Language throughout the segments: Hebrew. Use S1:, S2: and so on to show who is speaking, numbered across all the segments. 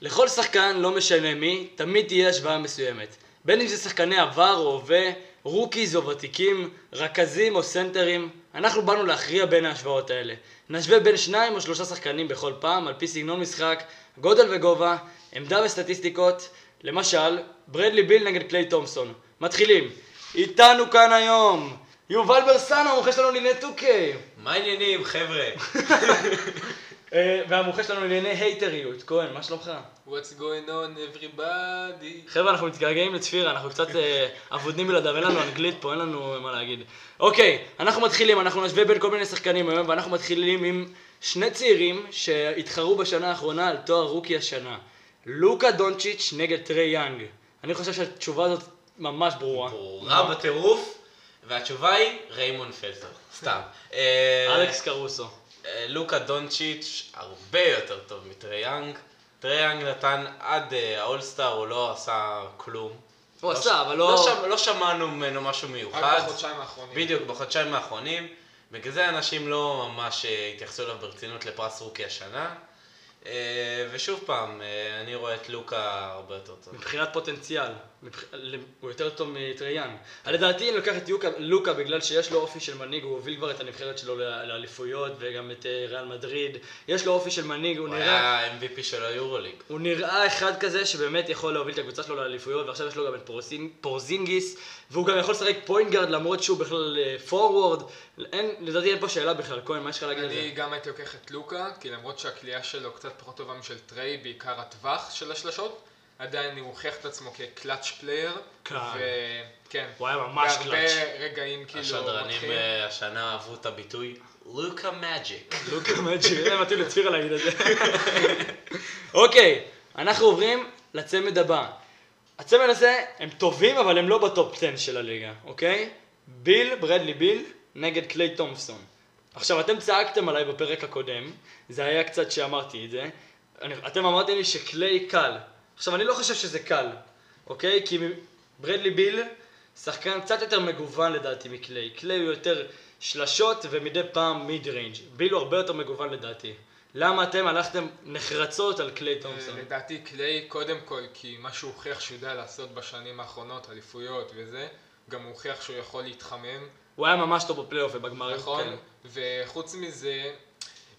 S1: לכל שחקן, לא משנה מי, תמיד תהיה השוואה מסוימת. בין אם זה שחקני עבר או הווה, רוקיז או ותיקים, רכזים או סנטרים, אנחנו באנו להכריע בין ההשוואות האלה. נשווה בין שניים או שלושה שחקנים בכל פעם, על פי סגנון משחק, גודל וגובה, עמדה וסטטיסטיקות, למשל, ברדלי ביל נגד קליי תומפסון. מתחילים. איתנו כאן היום, יובל ברסנו, המומחה שלנו לענייני 2K.
S2: מה העניינים, חבר'ה?
S1: אה, והמומחה שלנו לענייני הייטריות. כהן, מה שלומך?
S3: What's going on everybody?
S1: חבר'ה, אנחנו מתגעגעים לצפירה, אנחנו קצת אה, אבודנים בלעדיו, אין לנו אנגלית פה, אין לנו מה להגיד. אוקיי, אנחנו מתחילים, אנחנו נשווה בין כל מיני שחקנים היום, ואנחנו מתחילים עם שני צעירים שהתחרו בשנה האחרונה על תואר רוקי השנה. לוקה דונצ'יץ' נגד טרי יאנג. אני חושב שהתשובה הזאת ממש ברורה.
S2: רע בטירוף, והתשובה היא ריימון פלטו. סתם. אה,
S1: אלכס קרוסו.
S2: אה, לוקה דונצ'יץ' הרבה יותר טוב מטרייאנג. טרייאנג נתן עד אה, האולסטאר, הוא לא עשה כלום.
S1: הוא
S2: לא
S1: עשה,
S2: ש-
S1: אבל לא-
S2: שמ- לא שמענו ממנו משהו מיוחד.
S3: רק בחודשיים האחרונים.
S2: בדיוק, בחודשיים האחרונים. בגלל זה אנשים לא ממש אה, התייחסו אליו ברצינות לפרס רוקי השנה. אה, ושוב פעם, אה, אני רואה את לוקה הרבה יותר טוב.
S1: מבחינת פוטנציאל, מבח... ל- הוא יותר טוב מטריאן. לדעתי אני לוקח את יוקה, לוקה בגלל שיש לו אופי של מנהיג, הוא הוביל כבר את הנבחרת שלו ל- לאליפויות וגם את אה, ריאל מדריד. יש לו אופי של מנהיג, הוא
S2: הוא
S1: נראה...
S2: היה MVP של היורוליג.
S1: הוא נראה אחד כזה שבאמת יכול להוביל את הקבוצה שלו לאליפויות ועכשיו יש לו גם את פורסינג, פורזינגיס והוא גם יכול לשחק פוינט גארד למרות שהוא בכלל פורוורד אין, לדעתי אין פה שאלה בכלל, כהן, מה יש לך להגיד על זה?
S3: אני גם הייתי לוקח את לוקה, כי למרות שהקליעה שלו קצת פחות טובה משל טריי, בעיקר הטווח של השלשות, עדיין הוא הוכיח את עצמו כקלאץ' פלייר.
S1: קל.
S3: כן.
S1: הוא היה ממש קלאץ'.
S3: בהרבה רגעים כאילו
S2: השדרנים
S3: מתחיל.
S2: אה, השנה אהבו את הביטוי לוקה מג'יק.
S1: לוקה מג'י, זה מתאים לצפירה להגיד את זה. אוקיי, אנחנו עוברים לצמד הבא. הצמד הזה, הם טובים אבל הם לא בטופ 10 של הליגה, אוקיי? ביל, ברדלי ביל, נגד קליי תומפסון. עכשיו, אתם צעקתם עליי בפרק הקודם, זה היה קצת שאמרתי את זה. אני, אתם אמרתם לי שקליי קל. עכשיו, אני לא חושב שזה קל, אוקיי? כי מ- ברדלי ביל, שחקן קצת יותר מגוון לדעתי מקליי. קליי הוא יותר שלשות ומדי פעם מיד ריינג'. ביל הוא הרבה יותר מגוון לדעתי. למה אתם הלכתם נחרצות על קליי תומפסון?
S3: לדעתי קליי קודם כל, כי מה שהוא הוכיח שהוא יודע לעשות בשנים האחרונות, אליפויות וזה, גם הוא הוכיח שהוא יכול להתחמם.
S1: הוא היה ממש טוב בפלייאוף ובגמר.
S3: נכון,
S1: כן.
S3: וחוץ מזה,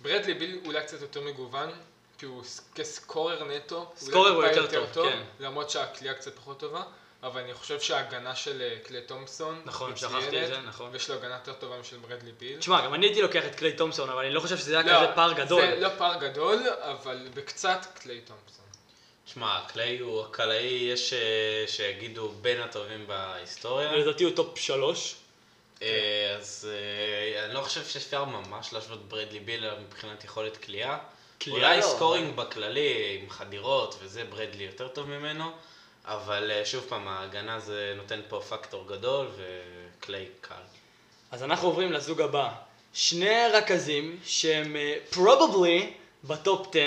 S3: ברדלי ביל אולי קצת יותר מגוון, כי הוא ס- כסקורר נטו, אולי
S1: סקורר הוא
S3: טיפה
S1: יותר טוב, כן.
S3: למרות שהכלייה קצת פחות טובה, אבל אני חושב שההגנה של אה, קליי תומפסון,
S1: נכון,
S3: היא
S1: שכחתי את
S3: מצוינת,
S1: זה, נכון.
S3: ויש לו הגנה יותר טובה משל ברדלי ביל.
S1: תשמע, גם אני הייתי לוקח את קליי תומפסון, אבל אני לא חושב שזה היה כזה פער גדול.
S3: זה לא פער גדול, אבל בקצת קליי תומפסון.
S2: שמע, קליי הוא הקלעי, יש אה, שיגידו בין הטובים בהיסטוריה.
S1: לדעתי הוא טופ שלוש.
S2: אה, אז אה, אני לא חושב שאפשר ממש להשוות ברדלי ביל מבחינת יכולת קליעה.
S1: קליעה
S2: אולי
S1: לא,
S2: סקורינג בכללי, עם חדירות וזה, ברדלי יותר טוב ממנו. אבל אה, שוב פעם, ההגנה זה נותן פה פקטור גדול, וקליי קל.
S1: אז אנחנו עוברים לזוג הבא. שני רכזים שהם אה, probably בטופ 10.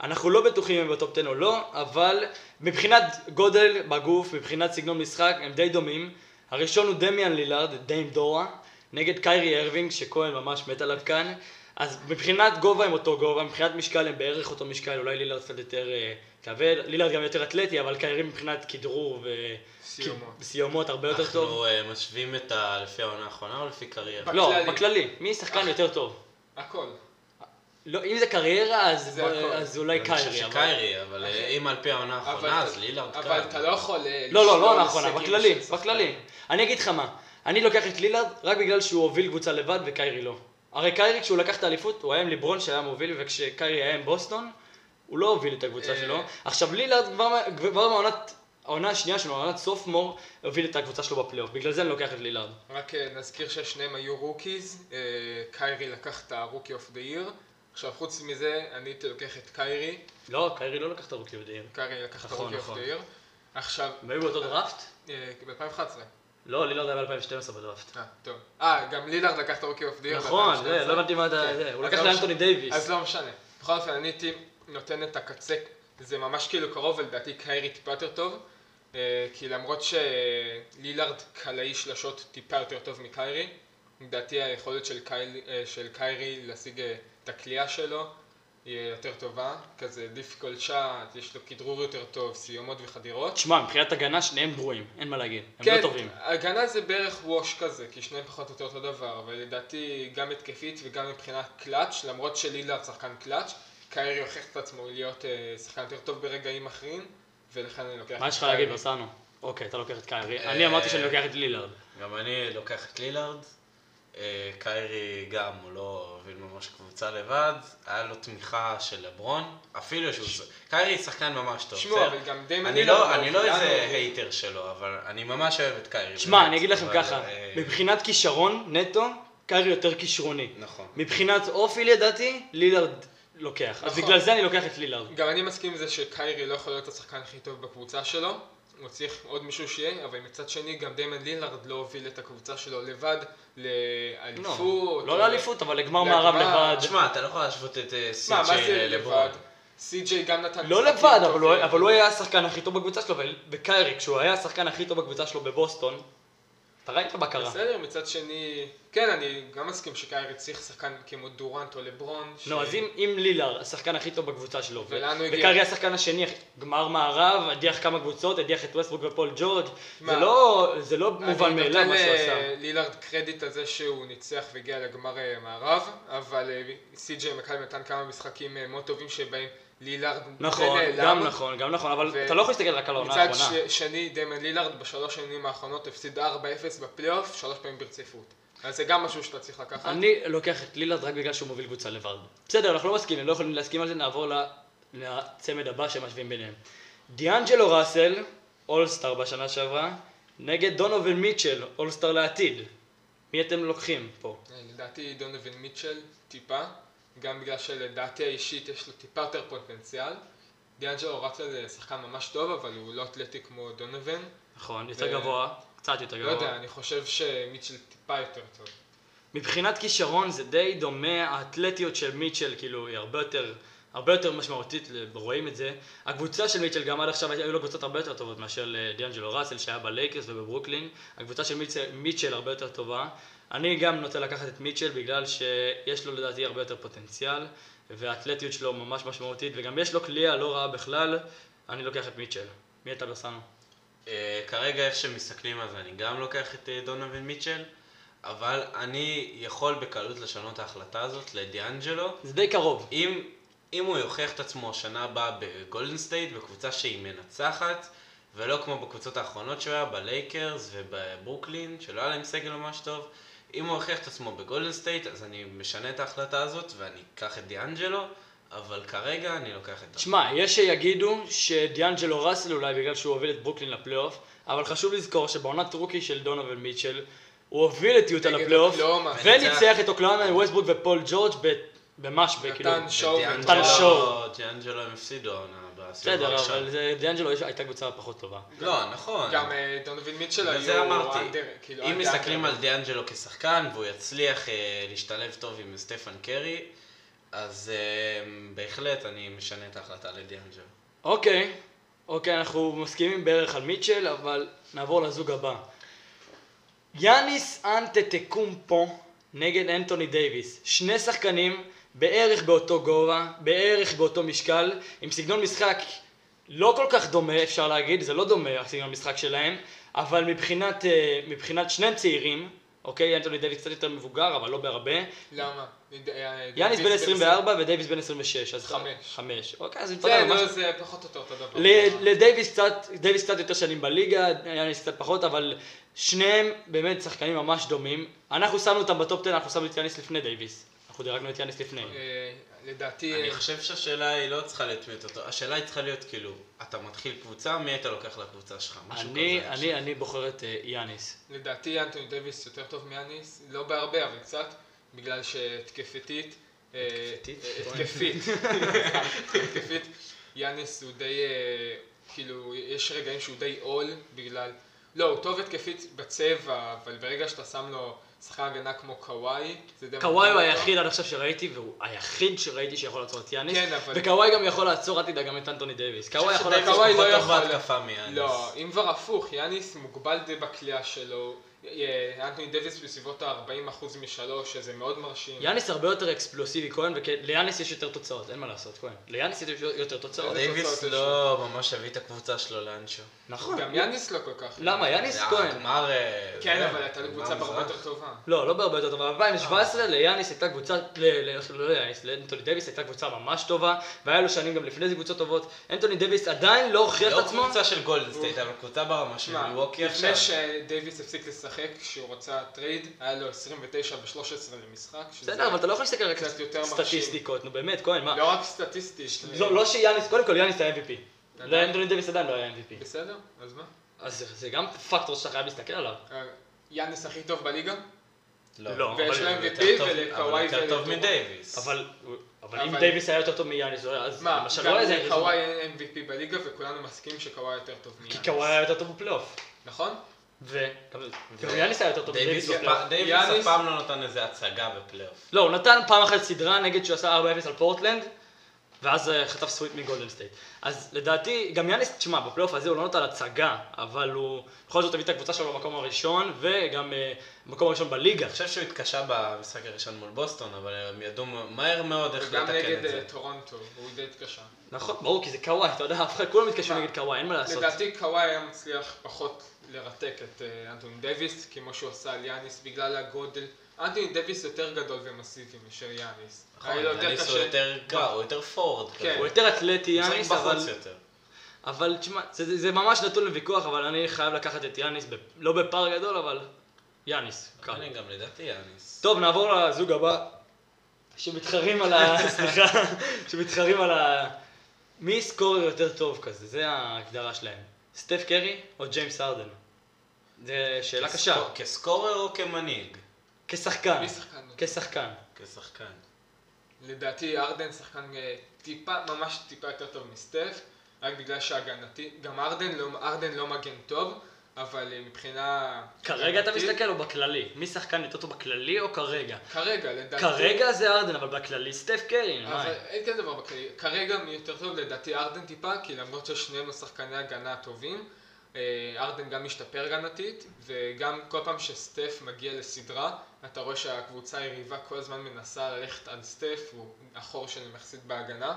S1: אנחנו לא בטוחים אם הם בטופ 10 או לא, אבל מבחינת גודל בגוף, מבחינת סגנון משחק, הם די דומים. הראשון הוא דמיאן לילארד, דיים דורה, נגד קיירי ארווינג, שכהן ממש מת עליו כאן. אז מבחינת גובה הם אותו גובה, מבחינת משקל הם בערך אותו משקל, אולי לילארד קצת יותר אה, כבד, לילארד גם יותר אתלטי, אבל קיירי מבחינת כדרור ו...
S3: סיומות.
S1: סיומות הרבה לא יותר טוב.
S2: אנחנו אה, משווים את ה... לפי העונה האחרונה או לפי קריירה?
S1: לא,
S3: בכללי.
S1: בכללי, מי שחקן יותר טוב?
S3: הכל.
S1: לא, אם זה קריירה, אז,
S3: זה
S1: בוא-
S3: הכל.
S1: אז אולי
S2: אני חושב
S1: קיירי. אבל-
S2: שקיירי, אבל אה, אם על פי העונה
S1: נכון,
S2: האחרונה, אז לילארד
S3: אבל אתה לא יכול... אה,
S1: לא, לא,
S3: לשלול
S1: לא נכון,
S3: הישגים
S1: בכללי,
S3: של שחקן.
S1: בכללי. אני אגיד לך מה, אני לוקח את לילארד רק בגלל שהוא הוביל קבוצה לבד וקיירי לא. הרי קיירי כשהוא לקח את האליפות, הוא היה עם ליברון שהיה מוביל, וכשקיירי היה עם בוסטון, הוא לא הוביל את הקבוצה
S3: אה.
S1: שלו. עכשיו לילארד כבר מה- כבר מהעונת, העונה השנייה שלו, העונת סופמור, הוביל את הקבוצה שלו בפלייאוף. בגלל זה אני לוקח את לילארד.
S3: רק אה, נזכיר ששניהם היו רוקיז, אה, קיירי לקח את הרוקי אוף דה עיר, עכשיו חוץ מזה אני הייתי לוקח את קיירי,
S1: לא, קיירי לא לקח את הרוקי יודעים.
S3: קיירי לקח את
S1: נכון,
S3: הרוקי אוף
S1: נכון.
S3: דה עיר, עכשיו, אה,
S1: הם היו באותו דראפט?
S3: ב-2011,
S1: לא, לילארד היה ב-2012 בדראפט.
S3: אה, טוב, אה, גם לילארד לקח את הרוקי אוף דה עיר,
S1: נכון,
S3: ב-
S1: זה, לא הבנתי מה אתה...
S3: כן.
S1: זה, הוא
S3: אז
S1: לקח
S3: לא
S1: לאנטוני
S3: משנה.
S1: דייוויס.
S3: אז לא משנה, בכל אופן אני הייתי נותן את הקצה, זה ממש כאילו קרוב ולדעתי קיירי טיפה יותר טוב, אה, כי למרות שלילארד קלעי שלשות טיפה יותר טוב מקיירי, לדעתי היכולת של, קייל, אה, של קיירי להשיג אה, את הכלייה שלו היא יותר טובה, כזה דיפיקול שאט, יש לו כדרור יותר טוב, סיומות וחדירות.
S1: תשמע, מבחינת הגנה שניהם גרועים, אין מה להגיד. הם
S3: כן,
S1: לא טובים.
S3: הגנה זה בערך ווש כזה, כי שניהם פחות או יותר אותו דבר, אבל לדעתי גם התקפית וגם מבחינת קלאץ', למרות שלילארד שחקן קלאץ', קיירי הוכיח את עצמו להיות אה, שחקן יותר טוב ברגעים אחרים, ולכן אני לוקח...
S1: מה
S3: את
S1: יש לך להגיד,
S3: קיירי.
S1: בסנו? אוקיי, אתה לוקח את קיירי.
S2: אה,
S1: אני אמרתי שאני לוקח את לילארד.
S3: אה,
S2: גם אני לוקח את לילארד. אה, קיירי גם, הוא לא הוביל ממש קבוצה לבד. היה לו תמיכה של לברון. אפילו שהוא... קיירי שחקן ממש טוב.
S3: תשמעו,
S2: בסדר?
S3: אבל גם דיימן
S2: אני לא,
S3: גם
S2: אני לא
S3: כולנו-
S2: איזה הייטר שלו, אבל אני ממש אוהב את קיירי.
S1: תשמע,
S2: באמת,
S1: אני אגיד לכם
S2: אבל,
S1: ככה,
S2: אה,
S1: מבחינת כישרון, נטו, קיירי יותר כישרוני.
S2: נכון.
S1: מבחינת אופי לדעתי, לילארד לוקח. אז
S3: נכון.
S1: בגלל זה אני לוקח את לילארד.
S3: גם אני מסכים עם זה שקיירי לא יכול להיות השחקן הכי טוב בקבוצה שלו, הוא צריך עוד מישהו שיהיה, אבל מצד שני גם דיימן לילארד לא הוביל את הקבוצה שלו לבד
S1: לא,
S3: לאליפות. או-
S1: לא לאליפות, אבל לגמר
S3: אה, לגמר.
S1: מערב לבד.
S2: תשמע, אתה לא יכול להשוות את אה,
S3: מה, מה
S2: סי.ג'יי
S3: זה
S2: לברון.
S3: לבד? סי.ג'יי גם נתן... אה,
S1: לא
S3: משחקים
S1: לבד, אבל
S3: טובים.
S1: הוא- אבל הוא היה השחקן הכי טוב בקבוצה שלו, ו- וקיירי, כשהוא היה השחקן הכי טוב בקבוצה שלו בבוסטון, אתה ראית מה קרה.
S3: בסדר, מצד שני, כן, אני גם מסכים שקיירי צריך שחקן כמו דורנט או לברון. ש-
S1: נו, לא, אז אם- אם לילארד, השחקן הכי טוב בקבוצה שלו, ו-
S3: ולאן הוא הגיע?
S1: וקיירי השחקן השני, גמר מערב, הדיח כמה קבוצות, הדיח את ווסטברוק ופול ג'ורג',
S3: מה?
S1: זה לא- זה לא מובן מאליו מה שהוא
S3: אני נותן אה,
S1: עשה.
S3: ל- לילארד קרדיט על זה שהוא ניצח והגיע לגמר אה, מערב, אבל אה, סי.ג'יי מקל נתן כמה משחקים אה, מאוד טובים שבהם לילארד
S1: נכון,
S3: נעלם.
S1: גם נכון, גם נכון, אבל
S3: אה, ו-
S1: אתה לא יכול להסתכל רק על העונה
S3: מצד
S1: האחרונה.
S3: ש- שני, דיימן לילארד בשלוש שנים האחרונות הפסיד 4-0 בפלייאוף, שלוש פעמים ברציפות. אז זה גם משהו שאתה צריך לקחת.
S1: אני לוקח את לילארד רק בגלל שהוא מוביל קבוצה לבד. בסדר, אנחנו לא מסכימים, לא יכולים להסכים על זה, נעבור ל- לצמד הבא שמשווים ביניהם. דיאנג'לו ראסל, אולסטאר בשנה שעברה, נגד דונובל מיטשל, אולסטאר לעתיד. מי אתם לוקחים פה?
S3: אה, לדעתי דונובין מיטשל טיפה, גם בגלל שלדעתי האישית יש לו טיפה יותר פוטנציאל. דיאנג'לו רטלה זה שחקן ממש טוב, אבל הוא לא אתלטי כמו דונובין.
S1: נכון,
S3: ו-
S1: יותר גבוה, קצת יותר
S3: לא יודע,
S1: גבוה.
S3: אני חושב שמיטשל טיפה יותר טוב.
S1: מבחינת כישרון זה די דומה, האתלטיות של מיטשל כאילו היא הרבה יותר... הרבה יותר משמעותית, רואים את זה. הקבוצה של מיטשל גם עד עכשיו היו לו קבוצות הרבה יותר טובות מאשר לדיאנג'לו ראסל שהיה בלייקרס ובברוקלין. הקבוצה של מיטשל, מיטשל הרבה יותר טובה. אני גם נוטה לקחת את מיטשל בגלל שיש לו לדעתי הרבה יותר פוטנציאל והאתלטיות שלו ממש משמעותית וגם יש לו כליאה לא רעה בכלל. אני לוקח את מיטשל. מי אתה בסנו?
S2: אה, כרגע איך שמסתכלים אז אני גם לוקח את אה, דונובין מיטשל, אבל אני יכול בקלות לשנות ההחלטה הזאת לדיאנג'לו.
S1: זה די קרוב.
S2: אם, אם הוא יוכיח את עצמו השנה הבאה בגולדן סטייט, בקבוצה שהיא מנצחת, ולא כמו בקבוצות האחרונות שהוא היה, בלייקרס ובברוקלין, שלא היה להם סגל ממש טוב, אם הוא יוכיח את עצמו בגולדן סטייט, אז אני משנה את ההחלטה הזאת ואני אקח את דיאנג'לו, אבל כרגע אני לוקח את...
S1: תשמע, יש שיגידו שדיאנג'לו ראסל אולי בגלל שהוא הוביל את ברוקלין לפלייאוף, אבל חשוב לזכור שבעונת רוקי של דונובל מיטשל, הוא הוביל את יוטה
S3: נגד
S1: לפלייאוף,
S3: אוקלאומה.
S1: וניצח את אוקלאומה עם ווסטבורג ופול ג'ורג' ב- במשהו, כאילו,
S3: נתן שואו.
S1: נתן שואו.
S2: דיאנג'לו הם הפסידו העונה בסיבוב
S1: בסדר,
S2: הראשון.
S1: אבל זה- דיאנג'לו יש- הייתה קבוצה פחות טובה.
S2: לא, נכון.
S3: גם אה, דונובין מיטשל היו...
S2: אבל זה אמרתי,
S3: under- כאילו,
S2: אם
S3: under-
S1: כן.
S2: מסתכלים על דיאנג'לו כשחקן והוא יצליח אה, להשתלב טוב עם סטפן קרי, אז אה, בהחלט אני משנה את ההחלטה לדיאנג'לו.
S1: אוקיי, אוקיי, אנחנו מסכימים בערך על מיטשל, אבל נעבור לזוג הבא. יאניס אנטטקומפו נגד אנטוני דייוויס. שני שחקנים בערך באותו גובה, בערך באותו משקל, עם סגנון משחק לא כל כך דומה, אפשר להגיד, זה לא דומה הסגנון משחק שלהם, אבל מבחינת, אה, מבחינת שניהם צעירים, אוקיי, אנטוני דייוויס קצת יותר מבוגר, אבל לא בהרבה,
S3: למה? נד- אה,
S1: יאניס בן
S3: דייוויס
S1: 24 ודייוויס בן 26, אז
S3: חמש.
S1: 5. אוקיי, אז
S3: זה,
S1: מתפתח ממש
S3: לא, זה פחות או יותר אותו דבר.
S1: ל- לדייוויס קצת, דייוויס קצת יותר שנים בליגה, יאניס קצת פחות, אבל שניהם באמת שחקנים ממש דומים. אנחנו שמנו אותם בטופ 10, אנחנו שמנו את יאניס לפני דייוויס. אנחנו דירגנו את יאניס לפני.
S3: אה, לדעתי...
S2: אני
S3: אה,
S2: חושב שהשאלה היא לא צריכה להטמיט אותו, השאלה היא צריכה להיות כאילו, אתה מתחיל קבוצה, מי אתה לוקח לקבוצה שלך? משהו
S1: אני,
S2: כזה.
S1: אני, אני בוחר את אה, יאניס.
S3: לדעתי אנטוני דייוויס יותר טוב מאניס, לא בהרבה אבל קצת, בגלל שהתקפתית, אה,
S2: התקפתית?
S3: אה, התקפית, התקפית, יאניס הוא די, אה, כאילו, יש רגעים שהוא די עול, בגלל, לא, הוא טוב התקפית בצבע, אבל ברגע שאתה שם לו שחקן הגנה כמו קוואי, זה די...
S1: קוואי הוא
S3: מגביל אותו.
S1: היחיד עד עכשיו שראיתי, והוא היחיד שראיתי שיכול לעצור את יאניס.
S3: כן, אבל-
S1: וקוואי גם יכול לעצור, אל תדאג, גם את אנטוני דייוויס. קוואי
S2: אני
S1: לא יכול
S2: חושב
S1: לעצור...
S3: קוואי
S2: שדייוויס
S3: לא
S2: פחות טוב
S3: יכול-
S2: בהתקפה מיאניס.
S3: לא, אם כבר הפוך, יאניס מוגבל די בקליעה שלו, אה, אנטוני דוויס בסביבות ה-40% משלוש, שזה מאוד מרשים.
S1: יאניס הרבה יותר אקספלוסיבי כהן, וליאניס יש יותר תוצאות, אין מה לעשות כהן. ליאניס יש יותר תוצאות.
S3: איזה
S2: דייוויס
S3: תוצאות
S2: לא ממש הביא את הקבוצה שלו לאנשהו.
S1: נכון.
S3: גם יאניס לא כל כך.
S1: למה? יאניס
S2: זה
S1: כהן.
S2: הגמר... אה,
S3: כן,
S2: זה,
S3: אבל הייתה לו קבוצה
S2: הגמר
S3: הרבה
S2: מזרח.
S3: יותר טובה.
S1: לא, לא בהרבה יותר טובה. ב-2017 ליאניס הייתה קבוצה, ל- ל- לא ליאניס, לאנטוני דוויס הייתה קבוצה ממש טובה, והיה לו שנים גם לפני זה קבוצות טובות. אנטוני דוויס עדיין לא הוכיח את
S2: לא
S1: עצמו.
S2: קבוצה של גולדן סטייט, אבל קבוצה ברמה של
S3: תשמע,
S2: מילווקי כן, עכשיו.
S3: לפני שדייוויס הפסיק לשחק, כשהוא רצה טרייד, היה לו 29 ו-13 למשחק. שזה
S1: בסדר, אבל אתה לא יכול להסתכל רק
S3: קצת יותר
S1: על
S3: מרשים.
S1: סטטיסטיקות, נו באמת, כהן, מה?
S3: לא רק סטטיסטית.
S1: לא לא שיאניס, קודם כל יאניס היה MVP.
S3: עדיין.
S1: לאנטוני דוויס עדיין לא היה MVP.
S3: בסדר, אז מה?
S1: אז זה- זה גם פקטור שאתה חייב להסתכל עליו.
S3: אה, יאניס הכי טוב בליגה?
S1: לא, אבל
S3: ויש
S1: הוא
S3: להם
S2: יותר
S3: MVP
S2: טוב- אבל
S3: ולקוואי
S2: יותר טוב
S3: ולדורנט.
S2: מדייוויס.
S1: אבל אבל אם
S3: אבל-
S1: דייוויס היה יותר טוב מיאניס, אז
S3: מה,
S1: למשל לא היה
S3: גם
S1: זה...
S3: קוואי היה MVP בליגה וכולנו מסכימים שקוואי יותר טוב מיאניס.
S1: כי קוואי היה יותר טוב בפלייאוף.
S3: נכון?
S1: ויאניס היה יותר טוב מדייוויס
S2: דייוויס אף
S1: בפלייאוף.
S2: פעם- דייוויס
S3: יאניס-
S2: אף פעם לא נתן איזה הצגה בפלייאוף.
S1: לא, הוא נתן פעם אחת סדרה נגד שהוא עשה 4-0 על פורטלנד, ואז אה, חטף סוויט מגולדן סטייט. אז לדעתי, גם יאניס, תשמע, בפלייאוף הזה הוא לא נתן הצגה, אבל הוא בכל זאת הביא את הקבוצה שלו במקום הראשון, וגם אה, במקום הראשון בליגה.
S2: אני חושב שהוא התקשה במשחק הראשון מול בוסטון, אבל הם ידעו מהר מאוד איך
S3: וגם
S2: לתקן את
S3: נגד
S2: זה.
S3: אה, טורונטו, הוא די התקשה.
S1: נכון, ברור, כי זה קוואי, אתה יודע, אף אחד, כולם מתקשרים
S3: מה?
S1: נגד קוואי, אין מה לעשות.
S3: לדעתי קוואי היה מצליח פחות לרתק את אה, אנטוני דוויס, כמו שהוא עשה על יאניס, בגלל הגודל. אנטוני דוויס יותר גדול ומסיבי מאשר יאניס.
S2: נכון,
S3: היה לו יותר
S2: יאניס הוא
S3: קשה.
S2: יותר גרע, הוא יותר פורד.
S3: כן.
S1: הוא יותר אתלטי יאניס, אבל...
S2: בחוץ יותר.
S1: אבל תשמע, זה, זה, זה ממש נתון לוויכוח, אבל אני חייב לקחת את יאניס, ב, לא בפער גדול, אבל יאניס, קל.
S2: אני גם לדעתי יאניס.
S1: טוב, נעבור לזוג הבא, שמתחרים על ה... סליחה, שמתחרים על ה... מי סקורר יותר טוב כזה, זה ההגדרה שלהם. סטף קרי או ג'יימס ארדן? זו שאלה קשה.
S2: כסקור- כסקורר או כמנהיג?
S1: כשחקן.
S3: מי שחקן?
S1: כשחקן.
S2: כשחקן.
S3: לדעתי ארדן שחקן אה, טיפה, ממש טיפה יותר טוב מסטף, רק בגלל שהגנתי, גם ארדן לא, ארדן לא מגן טוב, אבל אה, מבחינה...
S1: כרגע אתה
S3: הגנתית-
S1: מסתכל או בכללי? מי שחקן יותר טוב בכללי או כרגע?
S3: כרגע, לדעתי. אה,
S1: כרגע זה ארדן, אבל בכללי סטף קרי. מה?
S3: אבל אין כזה דבר בכללי. כרגע מי יותר טוב, לדעתי ארדן טיפה, כי למרות ששניהם השחקני הגנה הטובים, אה, ארדן גם משתפר הגנתית, וגם כל פעם שסטף מגיע לסדרה, אתה רואה שהקבוצה היריבה כל הזמן מנסה ללכת על סטף, הוא החור של מחסית בהגנה,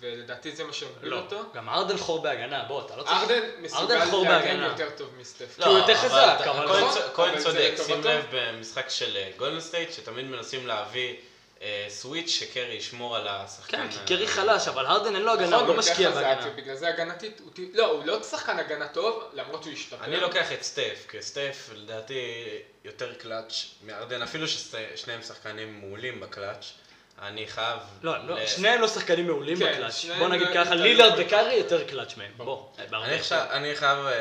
S3: ולדעתי זה מה שמוביל
S1: לא,
S3: אותו.
S1: גם ארדן חור בהגנה, בוא, אתה לא צריך...
S3: ארדן מסוגל
S1: ארדן חור
S3: להגן
S1: בהגנה. לא,
S3: יותר טוב מסטף.
S1: כי הוא יותר
S2: לא, אבל
S1: חזק,
S2: אתה-
S1: אבל-
S2: כהן
S3: נכון,
S2: צ-
S3: אבל
S2: כהן
S3: זה
S2: צודק, שים
S3: לטובתו.
S2: לב במשחק של אה, גולדן סטייט, שתמיד מנסים להביא אה, סוויץ' שקרי ישמור על השחקן.
S1: כן, כי
S2: ה-
S1: קרי חלש, אבל הרדן אין לו
S3: נכון,
S1: הגנה, הוא לא
S3: יותר
S1: משקיע
S3: חזק,
S1: בהגנה.
S3: ובגלל זה הגנתית, הוא טיפ- לא, הוא לא שחקן הגנה טוב, למרות שהוא השתפר.
S2: אני
S1: לא
S2: לוקח את סטף, כי סטף לדעתי יותר קלאץ' מארדן, אפילו ששניהם שחקנים מעולים בקלאץ', אני חייב...
S1: לא, הם לא,
S2: ל-
S1: שניהם לא שחקנים מעולים
S3: כן,
S1: בקלאץ'.
S3: שניהם
S1: בוא נגיד
S3: לא-
S1: ככה,
S3: לא-
S1: לילארד
S3: לא-
S1: וקארי יותר קלאץ' מהם. בוא,
S3: ברור.
S1: בהרבה.
S2: אני חייב- אני חייב אה,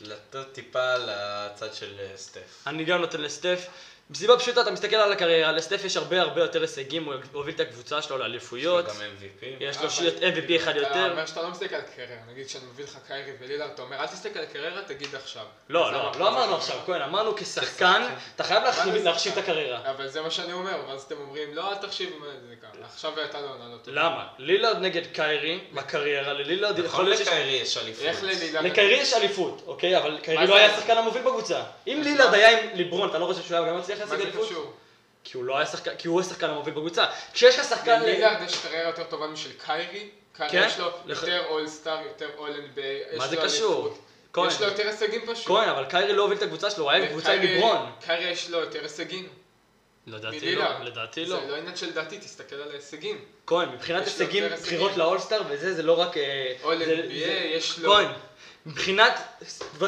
S2: לתת טיפה לצד של אה, סטף.
S1: אני גם נותן לסטף. מסיבה פשוטה, אתה מסתכל על הקריירה, לסטף יש הרבה הרבה יותר הישגים, הוא הוביל את הקבוצה שלו
S2: יש לו
S1: לאליפויות.
S2: גם MVP.
S1: יש לו
S3: אה, אבל-
S1: שיט MVP אחד
S3: אתה
S1: יותר.
S3: אומר שאתה לא מסתכל על קריירה, נגיד שאני מביא לך קיירי ולילארד, אתה אומר אל תסתכל על קריירה, תגיד עכשיו.
S1: לא,
S3: זה
S1: לא,
S3: מה-
S1: לא אמרנו עכשיו, כהן, אמרנו כשחקן, אתה חייב להחשיב-
S3: כשחקן. אה,
S1: להחשיב את הקריירה.
S3: אבל זה מה שאני אומר, ואז אתם אומרים, לא, אל תחשיב מה זה ככה. עכשיו הייתה לו עונה לא טובה.
S1: למה? לילארד נגד קיירי, בקריירה ללילארד יכול
S2: נכון
S1: להיות שיש...
S2: לקיירי יש אליפות.
S3: איך ללילארד...
S1: לקיירי יש אליפות, אוקיי? אבל קיירי
S3: מה
S1: לא
S3: זה?
S1: היה השחקן המוביל בקבוצה. אם
S3: אז
S1: לילארד
S3: מה?
S1: היה עם ליברון, אתה לא חושב שהוא היה גם מצליח
S3: מה
S1: להשיג
S3: זה
S1: אליפות?
S3: קשור?
S1: כי הוא לא היה שחקן, כי הוא השחקן המוביל בקבוצה. כשיש לך שחקן...
S3: ללילארד יש קריירה יותר טובה משל קיירי.
S1: כן?
S3: קיירי יש לו
S1: לח-
S3: יותר אולסטאר, יותר אולנד
S1: מה זה קשור? כהן,
S3: יש לו יותר הישגים פשוט.
S1: כהן, אבל קיירי לא הוביל את הקבוצה שלו, הוא היה בקבוצה עם
S3: וקיירי-
S1: ליברון.
S3: קיירי יש לו יותר הישגים.
S1: לדעתי לא,
S3: מלילארד.
S1: לדעתי לא.
S3: זה לא עניין של דעתי, תסתכל על ההישגים.
S1: כהן, מבחינת
S3: יש לו
S1: הישגים,
S3: יותר הישגים.
S1: בחירות לאולסטאר וזה, זה לא רק... אה,
S3: All
S1: זה-
S3: NBA,
S1: זה-
S3: יש לו-
S1: כהן, מבחינת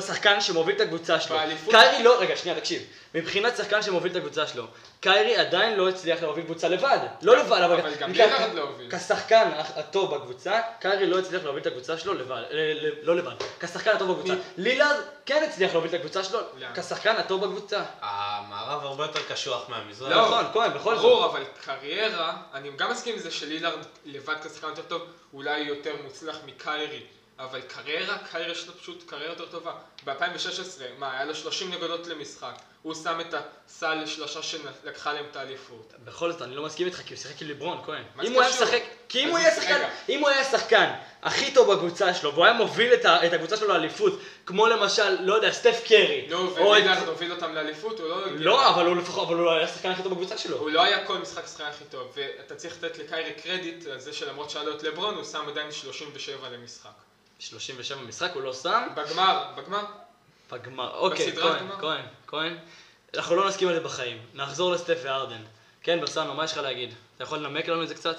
S1: שחקן שמוביל את הקבוצה שלו,
S3: באליפות-
S1: קיירי לא, רגע, שנייה, תקשיב. מבחינת שחקן שמוביל את הקבוצה שלו, קיירי עדיין לא הצליח להוביל קבוצה לבד. לא לבד, אבל...
S3: אבל גם
S1: כ-
S3: לילארד לא הוביל.
S1: כשחקן הטוב בקבוצה, קיירי לא הצליח להוביל את הקבוצה שלו לבד, ל- ל- לא לבד, כשחקן הטוב בקבוצה.
S3: מי?
S1: לילארד כן הצליח להוביל את הקבוצה שלו,
S3: למה?
S1: כשחקן הטוב בקבוצה.
S2: המערב הרבה יותר קשוח מהמזרח.
S3: לא,
S1: נכון, כהן, בכל זאת.
S3: ברור, אבל קריירה, אני גם מסכים עם זה שלילארד לבד כשחקן יותר טוב, אולי יותר מוצלח מקיירי, אבל קריירה, קיירי יש לו פשוט קריירה יותר טובה. ב-2016, מה, היה לו 30 נקודות למשחק. הוא שם את הסל לשלושה שלקחה להם את האליפות.
S1: בכל זאת, אני לא מסכים איתך, כי הוא שיחק עם לברון, כהן.
S3: מה זה
S1: אם הוא היה
S3: קשור?
S1: משחק, כי אם
S3: אז
S1: הוא
S3: הוא
S1: היה
S3: שיחק
S1: שחקן,
S3: גם.
S1: אם הוא היה השחקן הכי טוב בקבוצה שלו, והוא היה מוביל את ה- את הקבוצה שלו לאליפות, כמו למשל, לא יודע, סטף קרי.
S3: נו,
S1: או את-
S3: ווילארד הוביל אותם לאליפות, הוא לא...
S1: לא, אבל הוא לפחות, אבל הוא היה השחקן הכי טוב בקבוצה שלו.
S3: הוא לא היה כל משחק שחקן הכי טוב, ואתה צריך לתת לקיירי קרדיט על זה שלמרות שהיה לו את לברון, הוא שם עדיין 37 למשחק.
S1: 37 משחק, הוא לא שם.
S3: בגמר, בגמר,
S1: בגמר, אוקיי,
S3: בסדרת
S1: כהן,
S3: גמר?
S1: כהן, כהן. אנחנו לא נסכים על זה בחיים. נחזור לסטף והרדן. כן, ברסנו, מה יש לך להגיד? אתה יכול לנמק לנו את זה קצת?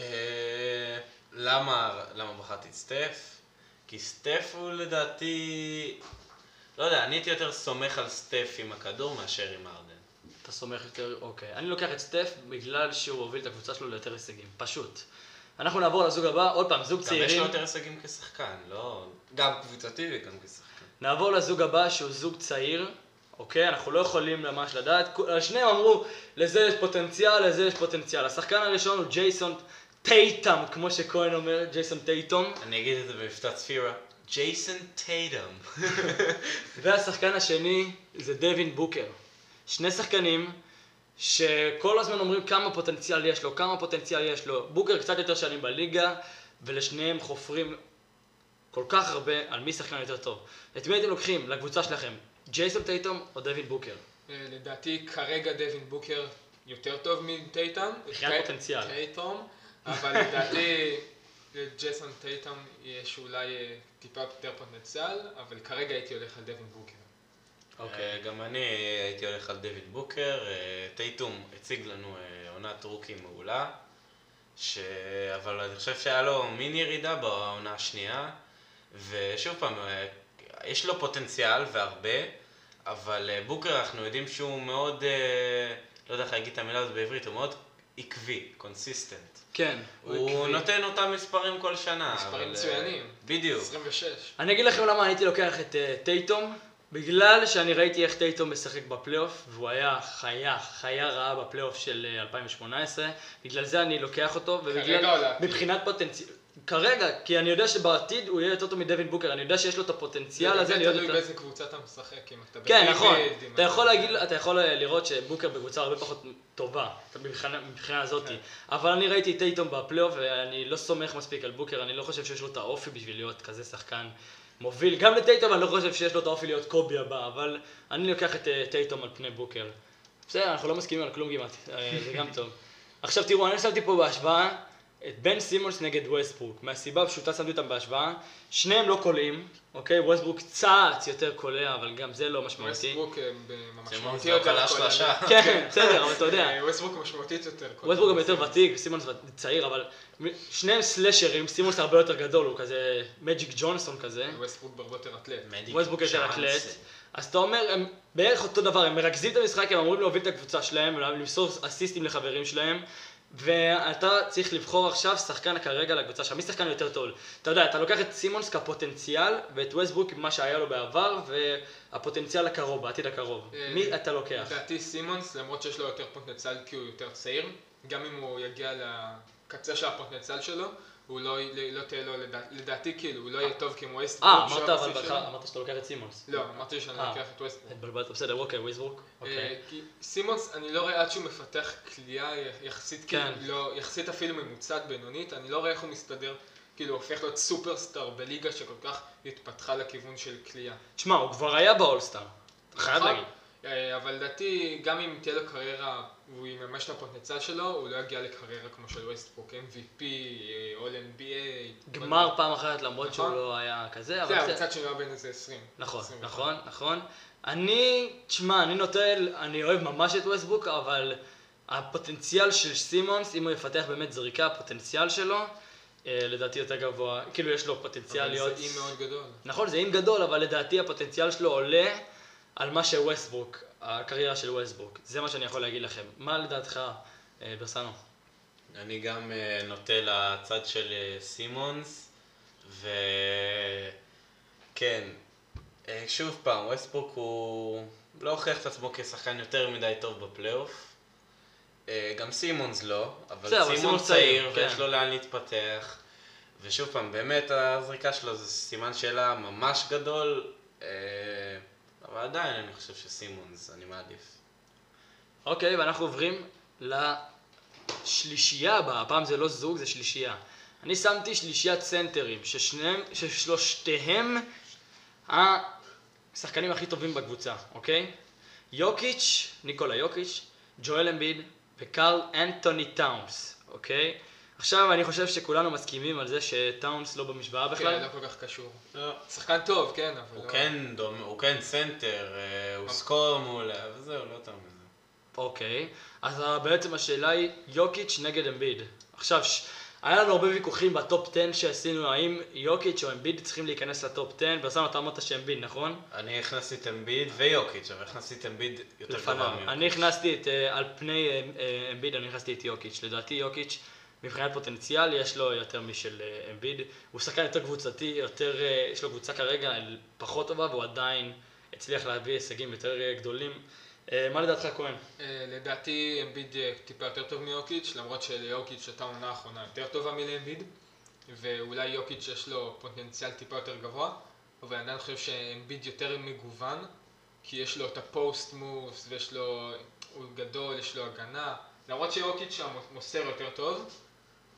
S2: אה, למה, למה בחרתי את סטף? כי סטף הוא לדעתי... לא יודע, אני הייתי יותר סומך על סטף עם הכדור מאשר עם ארדן.
S1: אתה סומך יותר, אוקיי. אני לוקח את סטף בגלל שהוא הוביל את הקבוצה שלו ליותר הישגים. פשוט. אנחנו נעבור לזוג הבא, עוד פעם, זוג
S2: גם יש לו
S1: צעירים.
S2: יותר הישגים כשחקן, לא... גם קבוצתי וגם כשחקן.
S1: נעבור לזוג הבא שהוא זוג צעיר, אוקיי? אנחנו לא יכולים ממש לדעת. כו- שניהם אמרו, לזה יש פוטנציאל, לזה יש פוטנציאל. השחקן הראשון הוא ג'ייסון טייטם, כמו שכהן אומר, ג'ייסון טייטום.
S2: אני אגיד את זה במבטא צפירה. ג'ייסון טייטם.
S1: והשחקן השני זה דווין בוקר. שני שחקנים שכל הזמן אומרים כמה פוטנציאל יש לו, כמה פוטנציאל יש לו. בוקר קצת יותר שנים בליגה, ולשניהם חופרים כל כך הרבה על מי שחקן יותר טוב. את מי הייתם לוקחים לקבוצה שלכם? ג'ייסון טייטום או דווין בוקר?
S3: אה, לדעתי כרגע דווין בוקר יותר טוב מטייטם.
S1: מבחינת
S3: טי-
S1: פוטנציאל.
S3: טייטום, אבל לדעתי לג'ייסון טייטם יש אולי אה, טיפה יותר פוטנציאל, אבל כרגע הייתי הולך על דווין בוקר. אה,
S2: אוקיי, גם אני הייתי הולך על דויד בוקר. אה, טייטום הציג לנו אה, עונת רוקי מעולה, ש... אבל אני חושב שהיה לו מיני ירידה בעונה השנייה, ושוב פעם, אה, יש לו פוטנציאל והרבה, אבל אה, בוקר אנחנו יודעים שהוא מאוד, אה, לא יודע איך להגיד את המילה הזאת בעברית, הוא מאוד עקבי, קונסיסטנט.
S1: כן.
S2: הוא
S3: עקבי.
S2: נותן אותם מספרים כל שנה.
S3: מספרים
S2: אבל, אה,
S3: מצוינים.
S2: בדיוק.
S3: 26.
S1: אני אגיד לכם למה הייתי לוקח את אה, טייטום, בגלל שאני ראיתי איך טייטום משחק בפלייאוף, והוא היה חיה, חיה רעה בפלייאוף של אה, 2018, בגלל זה אני לוקח אותו,
S3: כרגע לא או
S1: ובגלל,
S3: לעתיד?
S1: מבחינת פוטנציאל, כרגע, כי אני יודע שבעתיד הוא יהיה יותר טוב מדווין בוקר, אני יודע שיש לו את הפוטנציאל הזה
S3: זה
S1: להיות
S3: תלוי
S1: יותר...
S3: באיזה קבוצה אתה משחק, אם אתה
S1: כן,
S3: בליגה,
S1: נכון.
S3: אם
S1: אתה יכול להגיד, לא- אתה יכול אה, לראות שבוקר בקבוצה הרבה פחות טובה, אתה מבחינה- מבחינה הזאת.
S3: כן.
S1: אבל אני ראיתי את טייטום בפלייאוף, ואני לא סומך מספיק על בוקר, אני לא חושב שיש לו את האופי בשביל להיות כזה שחקן מוביל. גם לטייטום אני לא חושב שיש לו את האופי להיות קובי הבא, אבל אני לוקח את אה, טייטום על פני בוקר. בסדר, אנחנו לא מסכימים על כלום כמעט, אה, זה גם טוב. עכשיו תראו, אני שמתי פה בהשוואה את בן סימונס נגד ווסטברוק. מהסיבה הפשוטה שמתי אותם בהשוואה, שניהם לא קולעים, אוקיי? ווסטברוק קצת יותר קולע, אבל גם זה לא משמעותי.
S3: ווסטברוק אה, ב-
S2: סימון
S3: משמעותי
S2: זה
S3: יותר.
S2: הקלה שלושה.
S1: כן, בסדר, אבל אתה יודע.
S3: אה, ווסטברוק משמעותית יותר. כל
S1: ווסטברוק גם
S3: הזמן.
S1: יותר ותיק, סימונס ות- צעיר, אבל מ- שניהם סלאשרים, סימונס הרבה יותר גדול, הוא כזה מג'יק ג'ונסון כזה,
S3: ווסטברוק הרבה יותר אטלט.
S1: ווסטברוק יותר אקלט. אז אתה אומר, הם בערך אותו דבר, הם מרכזים את המשחק, הם אמורים להוביל את הקבוצה שלהם, למסור אסיסטים לחברים שלהם, ואתה צריך לבחור עכשיו שחקן כרגע לקבוצה שלך, מי שחקן יותר טוב? אתה יודע, אתה לוקח את סימונס כפוטנציאל, ואת ווסטברוק עם מה שהיה לו בעבר, והפוטנציאל הקרוב, בעתיד הקרוב.
S3: אה,
S1: מי אתה לוקח?
S3: לדעתי סימונס, למרות שיש לו יותר פוטנציאל כי הוא יותר צעיר, גם אם הוא יגיע לקצה של הפוטנציאל שלו, הוא לא, לא תהיה לו, לדע- לדעתי כאילו, הוא לא יהיה טוב כמו ווסטברוק.
S1: אה, אמרת
S3: שהוא
S1: אבל
S3: הבסיס
S1: בהתחלה,
S3: שלו.
S1: אמרת שאתה לוקח את סימונס.
S3: לא, אמרתי שאני
S1: אה.
S3: לוקח את ווסטברוק.
S1: התבלבלת, בסדר, אוקיי, וויזבורק. אוקיי.
S3: אה, כי סימונס, אני לא רואה עד שהוא מפתח כליאה י- יחסית,
S1: כן.
S3: כאילו, לא, יחסית אפילו ממוצעת בינונית, אני לא רואה איך הוא מסתדר, כאילו הוא הופך להיות סופרסטאר בליגה שכל כך התפתחה לכיוון של כליאה.
S1: תשמע, הוא כבר היה באולסטאר. חייב
S3: נכון.
S1: להגיד.
S3: אה, אבל לדעתי, גם אם תהיה לו קריירה, הוא יממש את הפוטנציאל שלו, הוא לא יגיע לקריירה כמו של ווסטברוק, MVP, אה, All NBA.
S1: גמר פעם אחת למרות שהוא
S3: נכון.
S1: לא היה כזה,
S3: זה
S1: אבל בסדר.
S3: המצד שלו היה בין איזה 20.
S1: נכון,
S3: 21.
S1: נכון, נכון. אני, תשמע, אני נוטל, אני אוהב ממש את ווסטבוק, אבל הפוטנציאל של סימונס, אם הוא יפתח באמת זריקה, הפוטנציאל שלו, אה, לדעתי יותר גבוה. כאילו יש לו פוטנציאל
S3: אבל זה
S1: להיות...
S3: אי מאוד גדול.
S1: נכון, זה אים גדול, אבל לדעתי הפוטנציאל שלו עולה על מה שווסטברוק, הקריירה של ווסטברוק. זה מה שאני יכול להגיד לכם. מה לדעתך, אה, ברסנו?
S2: אני גם אה, נוטה לצד של אה, סימונס, וכן, אה, שוב פעם, ווסטבורק הוא לא הוכיח את עצמו כשחקן יותר מדי טוב בפלייאוף. אה, גם סימונס לא,
S1: בסדר,
S2: אבל
S1: אבל סימונס
S2: סימונס
S1: צעיר,
S2: צעיר,
S1: כן.
S2: ויש לו לאן להתפתח. ושוב פעם, באמת הזריקה שלו זה סימן שאלה ממש גדול. אה, אבל עדיין אני חושב שסימונס, אני מעדיף.
S1: אוקיי, ואנחנו עוברים לשלישייה הבאה, הפעם זה לא זוג, זה שלישייה. אני שמתי שלישיית סנטרים, ששניהם, ששלושתיהם השחקנים הכי טובים בקבוצה, אוקיי? יוקיץ', ניקולה יוקיץ', ג'ואל אמביד וקרל אנטוני טאונס, אוקיי? עכשיו אני חושב שכולנו מסכימים על זה שטאונס לא במשוואה
S3: כן,
S1: בכלל.
S3: לא כל כך קשור. שחקן טוב, כן, אבל
S1: אוקיי.
S2: הוא
S3: לא...
S2: כן דומה, הוא כן סנטר, אה, הוא סקור מעולה, וזהו, לא יותר מזה.
S1: אוקיי, אז ה- בעצם השאלה היא יוקיץ' נגד אמביד. עכשיו, ש... היה לנו הרבה ויכוחים בטופ 10 שעשינו, האם יוקיץ' או אמביד צריכים להיכנס לטופ 10, ואסנו אתה אמרת שאמביד, נכון?
S2: אני הכנסתי את אמביד ויוקיץ', אבל הכנסתי את אמביד יותר
S1: לפניו.
S2: גבוה מיוקיץ'.
S1: אני הכנסתי את, אה, על פני אה, אה, אמביד, אני הכנסתי את יוקיץ'. לדעתי יוקיץ', מבחינת פוטנציאל, יש לו יותר משל אה, אמביד. הוא שחקן יותר קבוצתי, יותר, אה, יש לו קבוצה כרגע פחות טובה, והוא עדיין הצליח להביא הישגים יותר אה, גדולים. אה, מה לדעתך כהן?
S3: אה, לדעתי אמביד אה, טיפה יותר טוב מיוקיץ', למרות שליוקיץ' הייתה עונה האחרונה יותר טובה מלאמביד, ואולי יוקיץ' יש לו פוטנציאל טיפה יותר גבוה, אבל אני עדיין חושב שאמביד יותר מגוון, כי יש לו את הפוסט מובס, ויש לו... הוא גדול, יש לו הגנה, למרות שיוקיץ' שם מוסר יותר טוב,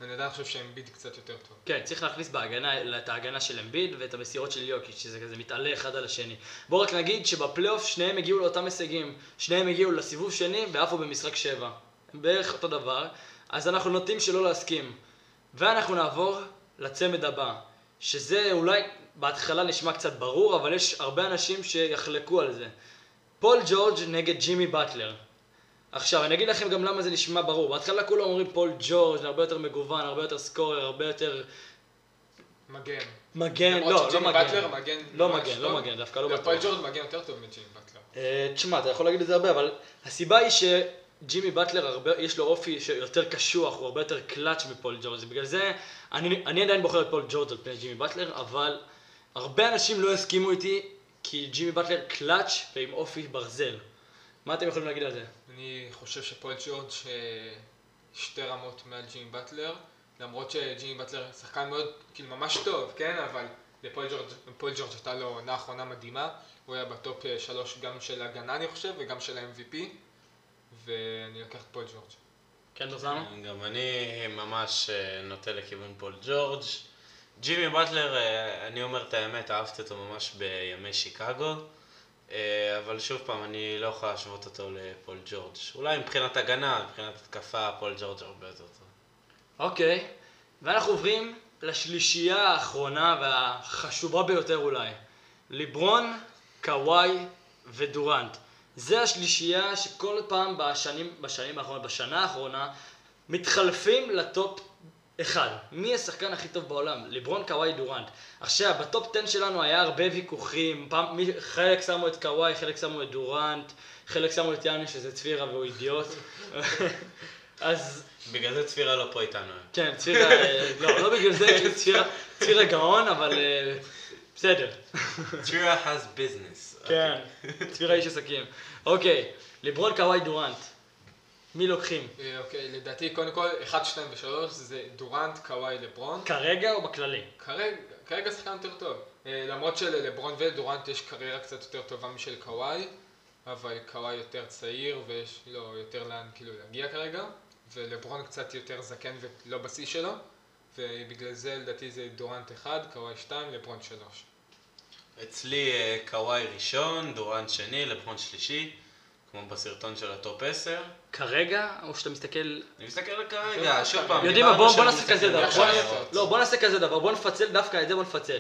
S3: ואני עדיין חושב שאמביד קצת יותר טוב.
S1: כן, צריך להכניס בהגנה, את ההגנה של אמביד ואת המסירות של יוקיץ', שזה כזה מתעלה אחד על השני. בואו רק נגיד שבפלייאוף שניהם הגיעו לאותם הישגים. שניהם הגיעו לסיבוב שני ועפו במשחק שבע. הם בערך אותו דבר, אז אנחנו נוטים שלא להסכים. ואנחנו נעבור לצמד הבא, שזה אולי בהתחלה נשמע קצת ברור, אבל יש הרבה אנשים שיחלקו על זה. פול ג'ורג' נגד ג'ימי באטלר. עכשיו, אני אגיד לכם גם למה זה נשמע ברור. בהתחלה כולם אומרים פול ג'ורג', הרבה יותר מגוון, הרבה יותר סקורר, הרבה יותר
S3: מגן.
S1: מגן,
S3: למרות
S1: לא, לא
S3: שג'ימי
S1: מגן.
S3: באטלר מגן
S1: לא
S3: ממש
S1: מגן, לא
S3: טוב.
S1: מגן, דווקא לא
S3: פול
S1: בטוח.
S3: ג'ורד מגן יותר טוב מג'ים באטלר.
S1: אה, תשמע, אתה יכול להגיד את זה הרבה, אבל הסיבה היא שג'ימי באטלר, הרבה- יש לו אופי שיותר קשוח, הוא הרבה יותר קלאץ' מפול ג'ורג', בגלל זה אני אני עדיין בוחר את פול ג'ורג' על פני ג'ימי באטלר, אבל הרבה אנשים לא יסכימו איתי, כי ג'ימי באטלר קלאץ' ועם אופי ברזל. מה אתם יכולים להגיד על זה?
S3: אני חושב שפול ג'ורג' אה, שתי רמות מעל ג'ימי באטלר, למרות שג'ימי באטלר שחקן מאוד, כאילו ממש טוב, כן, אבל לפול ג'ורג', פול ג'ורג' הייתה לו עונה אחרונה מדהימה, הוא היה בטופ אה, שלוש גם של הגנה אני חושב וגם של ה-MVP, ואני לוקח את פול ג'ורג'.
S1: כן, ברזנו?
S2: גם אני ממש אה, נוטה לכיוון פול ג'ורג'. ג'ימי באטלר, אה, אני אומר את האמת, אהבתי אותו ממש בימי שיקגו. אה, אבל שוב פעם, אני לא יכול להשוות אותו לפול ג'ורג'. אולי מבחינת הגנה, מבחינת התקפה, פול ג'ורג' הרבה יותר טוב.
S1: אוקיי, ואנחנו עוברים לשלישייה האחרונה והחשובה ביותר אולי. ליברון, קוואי ודורנט. זה השלישייה שכל פעם בשנים, בשנים האחרונות, בשנה האחרונה, מתחלפים לטופ אחד. מי השחקן הכי טוב בעולם? ליברון, קוואי, דורנט. עכשיו, בטופ 10 שלנו היה הרבה ויכוחים. פעם, מי, חלק שמו את קוואי, חלק שמו את דורנט, חלק שמו את יאני שזה צפירה והוא אידיוט. אז
S2: בגלל זה צפירה לא פה איתנו. היום.
S1: כן, צפירה, אה, לא, לא בגלל זה, כי צפירה, צפירה גאון, אבל אה, בסדר.
S2: צפירה has business. אוקיי?
S1: כן, צפירה איש עסקים. אוקיי, לברון קוואי דורנט. מי לוקחים?
S3: אה, אוקיי, לדעתי קודם כל 1, 2 ו-3 זה דורנט, קוואי, לברון.
S1: כרגע או בכללי?
S3: כרגע, כרגע שחקן יותר טוב. אה, למרות שללברון ולדורנט יש קריירה קצת יותר טובה משל קוואי, אבל קוואי יותר צעיר ויש לו יותר לאן כאילו להגיע כרגע, ולברון קצת יותר זקן ולא בשיא שלו, ובגלל זה לדעתי זה דורנט 1, קוואי 2, לברון 3.
S2: אצלי אה, קוואי ראשון, דורן שני, לברון שלישי, כמו בסרטון של הטופ 10.
S1: כרגע, או שאתה מסתכל...
S2: אני מסתכל כרגע, שוב פעם,
S1: יודעים מה,
S2: אה, דיברנו
S1: בוא בוא
S2: שאני
S1: נעשה כזה
S2: מסתכל
S1: דבר.
S2: על
S1: בוא
S3: עכשיו.
S1: נעשה- לא, בוא נעשה כזה דבר, בוא נפצל דווקא את זה, בוא נפצל.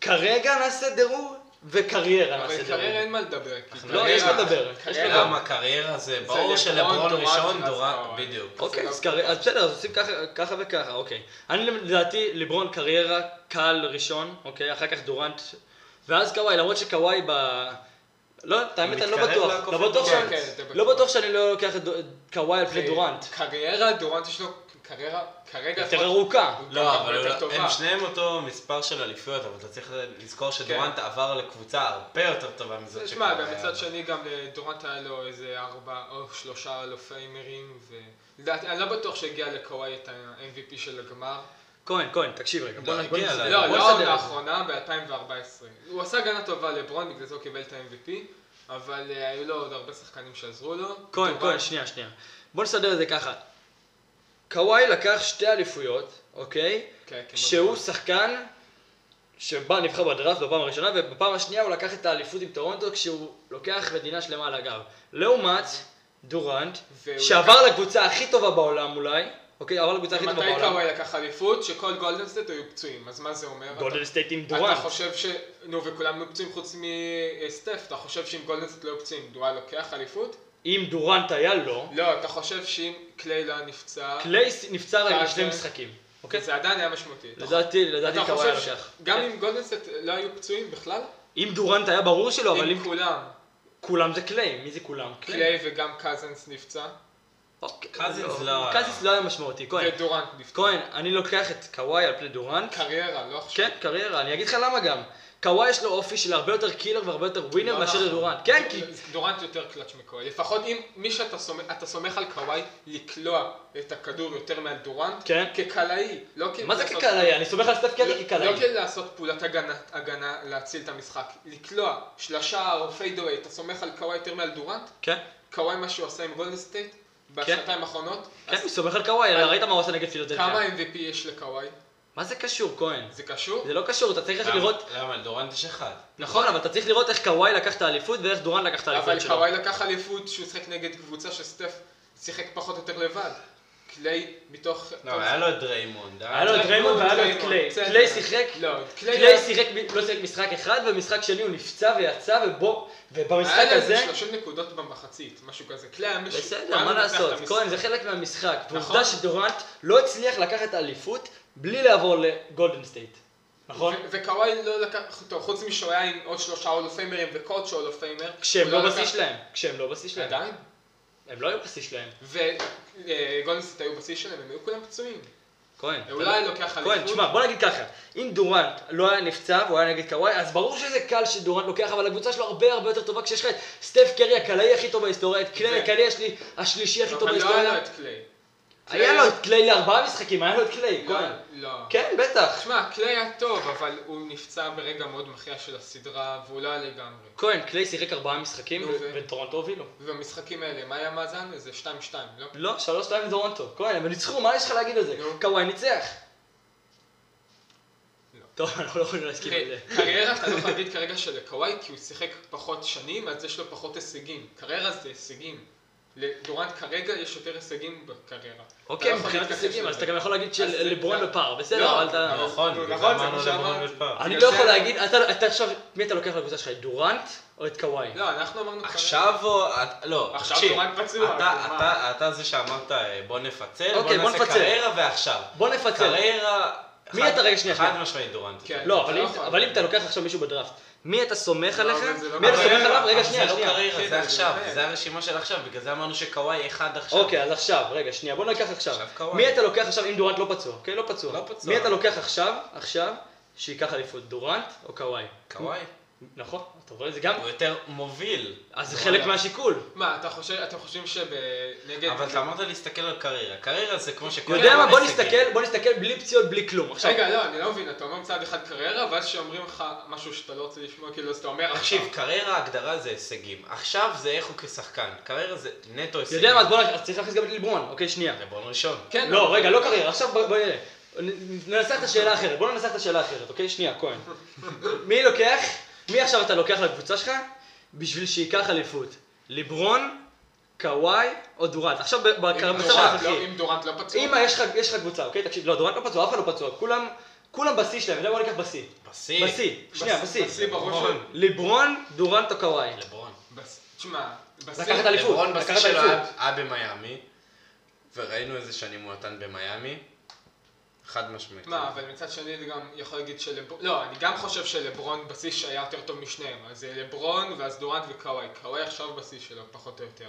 S1: כרגע נעשה דירוג, וקריירה
S3: אבל
S1: נעשה
S3: קריירה
S1: דירוג.
S3: אין מה לדבר. כי
S1: לא, יש
S3: קריירה-
S1: לדבר, יש
S3: קריירה-
S1: לדבר.
S2: למה קריירה זה
S3: לברון,
S2: ברור שלברון
S3: דורנט,
S2: ראשון,
S3: ואז
S2: דורן,
S3: קוואי.
S2: בדיוק.
S1: אוקיי,
S3: זה
S1: אז
S3: לא-
S1: קרי- אז בסדר, אז עושים ככה- ככה וככה, אוקיי. אני לדעתי, לברון קריירה קל ראשון, אוקיי, אחר כך דורנט, ואז קוואי, למרות שקוואי ב... לא, את האמת, אני לא
S2: מתקרב
S1: בטוח.
S2: לעקוף
S1: לא
S2: את
S1: בטוח
S3: דורנט.
S1: שאני-
S3: כן, כן, אתה
S1: לא
S3: בטוח.
S1: בטוח שאני לא לוקח את דו- את קוואי על פני דורנט.
S3: אה,
S2: כן,
S3: קריירה, דורנט יש לו קריירה, כרגע...
S1: יותר ארוכה.
S3: הוא גם
S2: לא, אבל
S3: יותר
S2: הוא-
S3: טובה.
S2: הם שניהם אותו מספר של אליפויות, אבל אתה צריך לזכור
S1: כן.
S2: שדורנט עבר לקבוצה הרבה יותר טובה מזאת
S3: תשמע,
S2: שקוואי היה
S3: ומצד
S2: בה.
S3: שני גם לדורנט היה לו איזה ארבע או שלושה אלופיימרים, ולדעתי, אני לא בטוח שהגיע לקוואי את ה-MVP של הגמר.
S1: כהן, כהן, תקשיב רגע. בוא
S2: לא, נכון.
S1: נ- בוא
S2: הגיע
S1: נסדר.
S2: אליי.
S1: בוא
S3: לא, לא
S1: נסדר.
S3: העונה האחרונה, ב-2014. הוא עשה הגנה טובה לברון, בגלל זה הוא קיבל את ה-MVP, אבל אה, היו לו עוד הרבה שחקנים שעזרו לו.
S1: כהן,
S3: טוראן-
S1: כהן, שנייה, שנייה. בוא נסדר את זה ככה. קוואי לקח שתי אליפויות, אוקיי?
S3: כן, כן,
S1: שהוא
S3: מאוד.
S1: שחקן שבא נבחר בדראפט בפעם הראשונה, ובפעם השנייה הוא לקח את האליפות עם טורונטו כשהוא לוקח מדינה שלמה על הגב. לעומת דורנט,
S3: והוא
S1: שעבר לקבוצה הכי טובה בעולם אולי, אוקיי? עבר לקבוצה הכי טובה
S3: מתי
S1: בעולם.
S3: קוואי לקח אליפות? שכל גולדנסטייט היו פצועים, אז מה זה אומר?
S1: גולדן סטייט עם
S3: אתה- אתה
S1: דורנט.
S3: חושב ש... נו, וכולם היו פצועים חוץ מסטף, אתה חושב שאם גולדנסטייט לא היו פצועים, דואל לוקח אליפות?
S1: אם דורנט היה לו,
S3: לא, אתה חושב שאם קליי לא היה נפצע,
S1: קליי נפצר
S3: קלאסטר.
S1: לשני משחקים. אוקיי?
S3: זה עדיין היה משמעותי. אתה
S1: לדעתי, לדעתי
S3: אתה
S1: קוואי
S3: חושב
S1: לקח.
S3: שגם אם גולדנסט לא היו פצועים בכלל,
S1: אם דורנט היה ברור שלא, לא, אבל אם כן.
S3: אם כולם,
S1: כולם זה קליי, מי זה כולם?
S3: קליי וגם קזנס נפצע,
S1: אוקיי,
S2: קזינס
S1: לא.
S2: לא-
S1: קזינס לא היה משמעותי, כהן.
S3: ודורנט נפצע.
S1: כהן, אני לוקח את קוואי על פני דורנט.
S3: קריירה, לא עכשיו.
S1: כן, קריירה, אני אגיד לך למה גם. קוואי יש לו אופי של הרבה יותר קילר והרבה יותר ווינר
S3: לא
S1: מאשר
S3: נכון.
S1: דורנט. כן, כי...
S3: דורנט יותר קלאץ' מקוואי. לפחות אם מי שאתה סומך, אתה סומך על קוואי לקלוע את הכדור יותר מעל דורנט,
S1: כן.
S3: כקלעי, לא כ...
S1: מה זה
S3: לעשות-
S1: כקלעי? אני סומך על סטף קרי
S3: לא
S1: כקלעי.
S3: כן לעשות פעולת הגנה, הגנה להציל את המשחק, לקלוע, שלשה או פיידאווי, אתה סומך על קוואי יותר מעל דורנט?
S1: כן,
S3: קוואי מה שהוא עשה עם גולדן סטייט בשנתיים האחרונות?
S1: כן,
S3: אז
S1: אני סומך על קוואי,
S3: אז-
S1: ראית מה הוא עושה נגד פילוטלפיה.
S3: כמה MVP יש לקוואי?
S1: מה זה קשור, כהן?
S3: זה קשור?
S1: זה לא קשור, אתה צריך איך
S2: למה-
S1: לראות...
S2: למה? לדורנט יש אחד.
S1: נכון, אבל אתה צריך לראות איך קוואי לקח את האליפות ואיך דורנט לקח את
S3: אבל
S1: האליפות שלו.
S3: קוואי לקח אליפות שהוא שיחק נגד קבוצה שסטף שיחק פחות או יותר לבד. קליי מתוך...
S2: לא, היה לו את דריימונד. אה?
S1: היה לו את דריימונד והיה לו את קליי.
S3: בסדר.
S1: קליי שיחק,
S3: לא, קליי
S1: קליי
S3: היה-
S1: שיחק, ב- לא שיחק משחק אחד, ובמשחק שני הוא נפצע ויצא, ובו, ובמשחק
S3: היה
S1: הזה...
S3: להם 30 נקודות במחצית, משהו כזה. קליי היה מישהו... הוא
S1: בסדר,
S3: היה
S1: מה
S3: מנצח את
S1: לעשות?
S3: המשחק.
S1: כהן, זה חלק מהמשחק. ועובדה
S3: נכון.
S1: שדורנט לא הצליח לקחת אליפות בלי לעבור לגולדן סטייט. נכון?
S3: ו- וקוואי לא לקח אותו, חוץ משהוא היה עם עוד שלושה הולופיימרים וקודש הולופיימר.
S1: כשהם לא בשיא שלהם. כשהם לא בשיא שלהם.
S3: עדיין.
S1: הם לא היו בשיא שלהם.
S3: וגולדנסט היו בשיא שלהם, הם היו כולם פצועים.
S1: כהן.
S3: אולי לוקח אליפות.
S1: כהן, תשמע, בוא נגיד ככה, אם דורנט לא היה נפצע והוא היה נגד קוואי, אז ברור שזה קל שדורנט לוקח, אבל הקבוצה שלו הרבה הרבה יותר טובה כשיש לך את סטף קרי הקלעי הכי טוב בהיסטוריה, את קליי
S3: כן.
S1: הקלעי השלי- השלישי הכי טוב
S3: אבל לא היה
S1: בהיסטוריה.
S3: לו את קליי.
S1: היה
S3: קליי
S1: לו
S3: היה-
S1: את קליי לארבעה משחקים, היה לו את קליי,
S3: לא,
S1: כהן.
S3: לא.
S1: כן, בטח.
S3: תשמע, קליי היה טוב, אבל הוא נפצע ברגע מאוד מכריע של הסדרה, והוא לא היה לגמרי.
S1: כהן, קליי שיחק ארבעה משחקים
S3: נו, ו-
S1: וטורונטו הובילו.
S3: ובמשחקים האלה, מה היה מאזן? איזה 2-2, לא?
S1: לא, שלוש שתיים לדורונטו. כהן, הם ניצחו, מה יש לך להגיד על זה?
S3: נו.
S1: קוואי ניצח.
S3: לא.
S1: טוב, אנחנו לא יכולים להסכים על זה.
S3: קריירה, אתה לא יכול להגיד כרגע שלקוואי, כי הוא שיחק פחות שנים, אז יש לו פחות הישגים. קריירה זה הישגים. לדורנט כרגע יש יותר הישגים בקריירה.
S1: אוקיי,
S3: אתה לא יכול
S1: מבחינת
S3: להתכחש
S1: הישגים,
S3: לזה.
S1: אז אתה גם יכול להגיד
S3: אז זה-
S1: שלברון
S3: זה-
S1: בפער, בסדר,
S3: לא,
S1: אבל אתה...
S3: אבל-
S2: נכון,
S3: נו,
S2: בגלל
S3: נכון,
S2: זה
S3: זה
S2: אמרנו
S3: מה
S2: לברון
S3: שאמרתי.
S2: ופאפ.
S1: אני
S3: בגלל
S1: לא
S3: זה
S1: יכול
S3: אני-
S1: להגיד, אתה אתה עכשיו, מי אתה לוקח לקבוצה שלך, את דורנט או את קוואי?
S3: לא, אנחנו אמרנו
S2: עכשיו או... את- לא,
S3: עכשיו
S2: תקשיב,
S3: דורנט פצוע,
S2: אתה-
S3: אז מה?
S2: אתה- אתה זה שאמרת אה, בוא נפצל, בוא
S1: כאילו, אוקיי, בוא
S2: נעשה
S1: נפצל.
S2: קריירה ועכשיו.
S1: בוא נפצל.
S2: קריירה...
S1: מי
S2: חד-
S1: אתה? רגע, שנייה,
S2: חד
S1: שנייה.
S2: משמעית דורנט.
S3: כן.
S1: לא,
S3: אתה
S1: אבל
S3: לא
S1: אם-
S3: יכול.
S1: אבל אם אתה לוקח עכשיו מישהו בדראפט, מי אתה סומך
S3: לא,
S1: עליך?
S3: אבל זה לא
S1: מי אתה
S3: קריירה.
S1: סומך עליו? רגע,
S2: אבל
S1: שנייה,
S2: זה לא
S1: שנייה.
S2: קריירה, זה
S3: כן,
S2: עכשיו,
S3: זה-
S2: זה הרשימה של עכשיו, בגלל זה אמרנו שקוואי אחד עכשיו.
S1: אוקיי, אז עכשיו, רגע, שנייה, בוא ניקח עכשיו.
S2: עכשיו קוואי.
S1: מי אתה לוקח עכשיו, אם דורנט לא פצוע, אוקיי? לא פצוע.
S2: לא פצוע.
S1: מי אתה לוקח עכשיו, עכשיו, שייקח אליפות, דורנט או קוואי?
S2: קוואי,
S1: נכון, אתה רואה את זה גם?
S2: הוא יותר מוביל.
S1: אז זה חלק מהשיקול.
S3: מה, אתה חושב, אתם חושבים שבנגד...
S2: אבל אתה אמרת להסתכל על קריירה. קריירה זה כמו שכל...
S1: כן. יודע מה, בוא
S2: הישגים.
S1: נסתכל, בוא נסתכל בלי פציעות, בלי כלום. עכשיו,
S3: רגע, לא, אני לא מבין, אתה אומר מצד אחד קריירה, ואז כשאומרים לך משהו שאתה לא רוצה לשמוע, כאילו, אז אתה אומר עכשיו.
S2: תקשיב, קריירה ההגדרה זה הישגים. עכשיו זה איך הוא כשחקן. קריירה זה נטו
S1: אתה
S2: הישגים.
S1: יודע מה, אז בוא, נ- אז צריך להכניס גם את לברון, אוקיי, שנייה.
S2: לברון ראשון.
S3: כן,
S1: לא, רגע, לא קריירה, עכשיו בוא בוא נראה. נ- ננסח את השאלה האחרת, בוא ננסח את השאלה האחרת, אוקיי? שנייה, כהן. מי לוקח, מי עכשיו אתה לוקח לקבוצה שלך בשביל שייקח אליפות? לברון, קוואי או דורנט? עכשיו ב-
S3: אם
S1: במצב
S3: דורנט
S1: הנוכחי.
S3: לא- אם דורנט לא פצוע.
S1: אם יש לך- יש לך קבוצה, אוקיי? תקשיב, לא, דורנט לא פצוע, אף אחד לא פצוע, כולם, כולם בשיא שלהם, אתה יודע, בוא ניקח בשיא.
S2: בשיא.
S1: בשיא, שנייה, בשיא.
S3: בשיא בראש
S2: לברון.
S3: שלו.
S1: לברון, דורנט או קוואי?
S2: לברון.
S3: בס- תשמע, בשיא...
S1: לקחת אליפות.
S2: לברון בשיא
S1: לקחת
S2: שלו היה
S1: אליפות.
S2: היה במיאמי, וראינו איזה שנים הוא נתן במיאמי. חד משמעית.
S3: מה, אבל מצד שני אני גם יכול להגיד שלברון, לא, אני גם חושב שלברון בשיא שהיה יותר טוב משניהם, אז זה לברון ואז דורנט וקוואי, קוואי עכשיו בשיא שלו, פחות או יותר.